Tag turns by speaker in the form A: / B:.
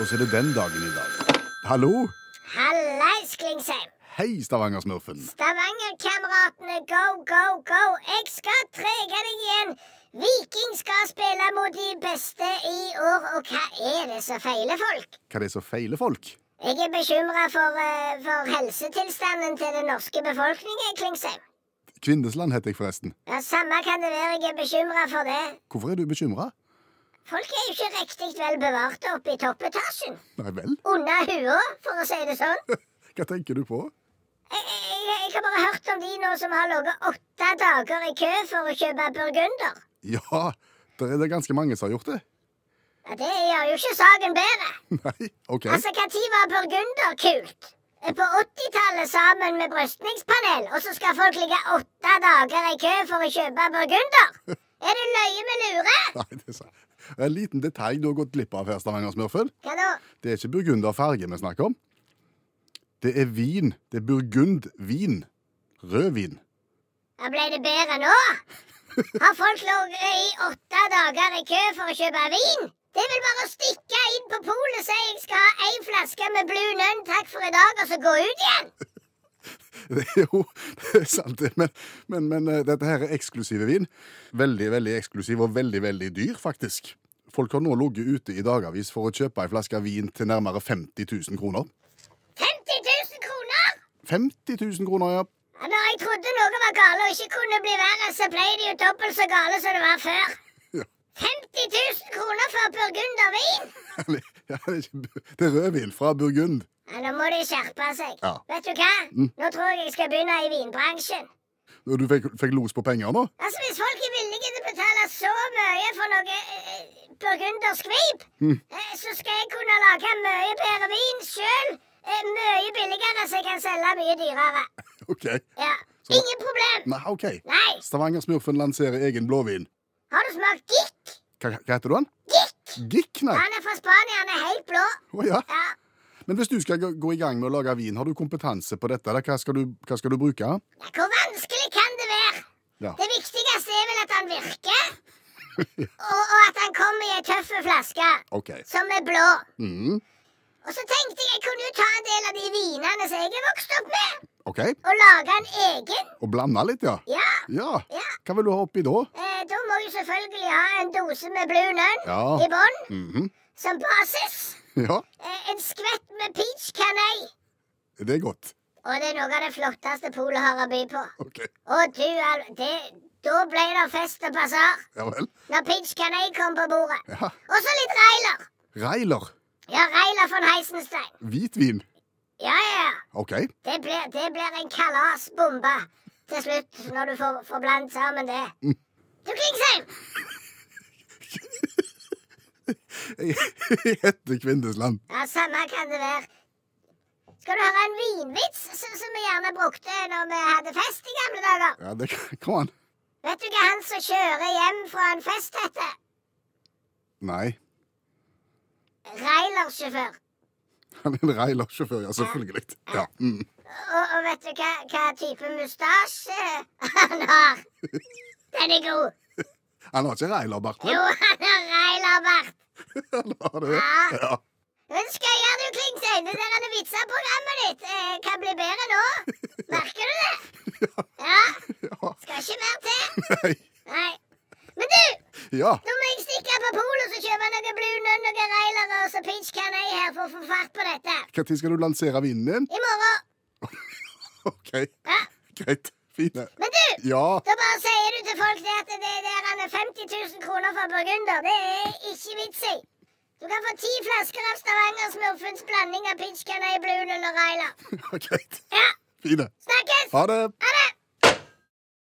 A: Og så er det den dagen i dag. Hallo?
B: Hallais, Klingsheim.
A: Hei, Stavanger-smurfen.
B: Stavangerkameratene, go, go, go. Jeg skal trege deg igjen. Viking skal spille mot de beste i år, og hva er det som feiler folk?
A: Hva er det som feiler folk?
B: Jeg er bekymra for, eh, for helsetilstanden til den norske befolkningen, Klingsheim.
A: Kvindesland heter jeg forresten.
B: Ja, Samme kan det være, jeg er bekymra for det.
A: Hvorfor er du bekymra?
B: Folk er jo ikke riktig vel bevart oppe i toppetasjen.
A: Nei vel?
B: Under hua, for å si det sånn.
A: Hva tenker du på?
B: Jeg, jeg, jeg jeg har bare hørt om de nå som har ligget åtte dager i kø for å kjøpe burgunder.
A: Ja, der er det ganske mange som har gjort det.
B: Ja, det gjør jo ikke saken bedre.
A: Nei, OK.
B: Altså, Når var burgunder kult? Eh, På 80-tallet sammen med brystningspanel, og så skal folk ligge åtte dager i kø for å kjøpe burgunder? Er det løye vi lurer?
A: Nei, det er sant. En liten detalj du har gått glipp av her, Stavanger-smurfen.
B: Hva da?
A: Det er ikke burgunderfarge vi snakker om. Det er vin. Det er burgundvin. Rødvin.
B: Ja, Ble det bedre nå? Har folk ligget i åtte dager i kø for å kjøpe vin? Det er vel bare å stikke inn på polet og si jeg skal ha ei flaske med Blue Nun, takk for i dag, og så gå ut igjen?
A: Det er jo det er sant, det. Men, men, men eh, dette her er eksklusive vin. Veldig, veldig eksklusiv og veldig, veldig dyr, faktisk. Folk har nå ligget ute i dagavis for å kjøpe ei flaske vin til nærmere 50 000 kroner.
B: 50 000 kroner!
A: 50 000 kroner, ja.
B: Ja, Når jeg trodde noe var gale og ikke kunne bli verre, så ble det jo dobbelt så gale som det var før.
A: Ja.
B: 50 000 kroner for burgundervin!
A: Eller, ja, det, er ikke, bu- det er rødvin fra Burgund.
B: Ja, nå må de skjerpe seg.
A: Ja. Mm.
B: Vet du hva? Nå tror jeg jeg skal begynne i vinbransjen.
A: Og Du fikk, fikk los på penger nå?
B: Altså, Hvis folk er villige til å betale så mye for noe eh, burgundersk vip,
A: Mm.
B: eh, så skal jeg kunne lage mye bedre vin sjøl. Eh, mye billigere, så jeg kan selge mye dyrere.
A: OK.
B: Ja.
A: Så-
B: Ingen problem.
A: Nei, OK.
B: Nei.
A: Stavanger-smurfen lanserer egen blåvin.
B: Har du smakt gikk?
A: Hva, hva heter du han?
B: Gikk!
A: Gikk, nei?
B: Han er fra Spania, han er helt blå.
A: Å ja.
B: Ja.
A: Men hvis du skal gå- gå i gang med å lage vin, har du kompetanse på dette? eller Hva skal du, hva skal du bruke?
B: Ja, Hvor vanskelig kan det være?
A: Ja.
B: Det viktigste er vel at han virker, og, og at han kommer i ei tøff flaske
A: OK.
B: som er blå.
A: Mm,
B: Og så tenkte jeg jeg kunne jo ta en del av de vinene som jeg er vokst opp med,
A: OK.
B: og lage en egen.
A: Og blande litt, ja.
B: Ja,
A: Ja.
B: Ja.
A: Hva vil du ha oppi da?
B: eh, Da må jeg selvfølgelig ha en dose med Blue Nun
A: Ja.
B: i bånn
A: Mhm.
B: som basis.
A: Ja,
B: Eh, en skvett med peach canay.
A: det er godt.
B: Og det er noe av det flotteste polet har å by på.
A: OK.
B: Og du, Al- det, da ble det fest og basar
A: Ja vel.
B: når peach canay kom på bordet.
A: Ja.
B: Og så litt Reiler.
A: Reiler.
B: Ja, Reiler von Heisenstein.
A: Hvitvin.
B: Ja, ja, ja.
A: OK.
B: Det blir, det blir en kalasbombe til slutt, når du får, får blandet sammen det. Du, Klingsheim,
A: Jeg heter Kvindesland.
B: ja, samme kan det være. Skal du høre en vinvits som, som vi gjerne brukte når vi hadde fest i gamle dager?
A: Ja, det Kom an.
B: Vet du hva han som kjører hjem fra en fest heter?
A: Nei.
B: Reiler-sjåfør.
A: Han er en reilersjåfør, ja, selvfølgelig. Ja. Mm.
B: Og, og vet du hva, hva type mustasje han har? Den er god.
A: Han har ikke reilerbart,
B: Jo,
A: men
B: han har reilerbart.
A: han har det. Ja.
B: Men skal jeg gjøre det, Klingsheim? Det der er det vitser programmet ditt eh, kan bli bedre nå. Merker du det? Ja.
A: Ja.
B: Skal ikke mer til.
A: Nei.
B: Nei. Men du,
A: Ja.
B: nå må jeg stikke på polet og så kjøpe noe Blue Nun, noe Reiler og så Peach Canay her for å få fart på dette.
A: Når skal du lansere vinen din?
B: I morgen.
A: OK,
B: Ja.
A: greit. Fine.
B: Men du,
A: Ja.
B: da bare sier du til folk det at det der han er 50 000 kroner for burgunder, det er ikke vits i. Du kan få ti flasker av Stavanger-smurfens blanding av Peach Canay, Blue Nun og Reiler.
A: Greit.
B: Ja,
A: Fine.
B: snakkes!
A: Ha det.
B: Ha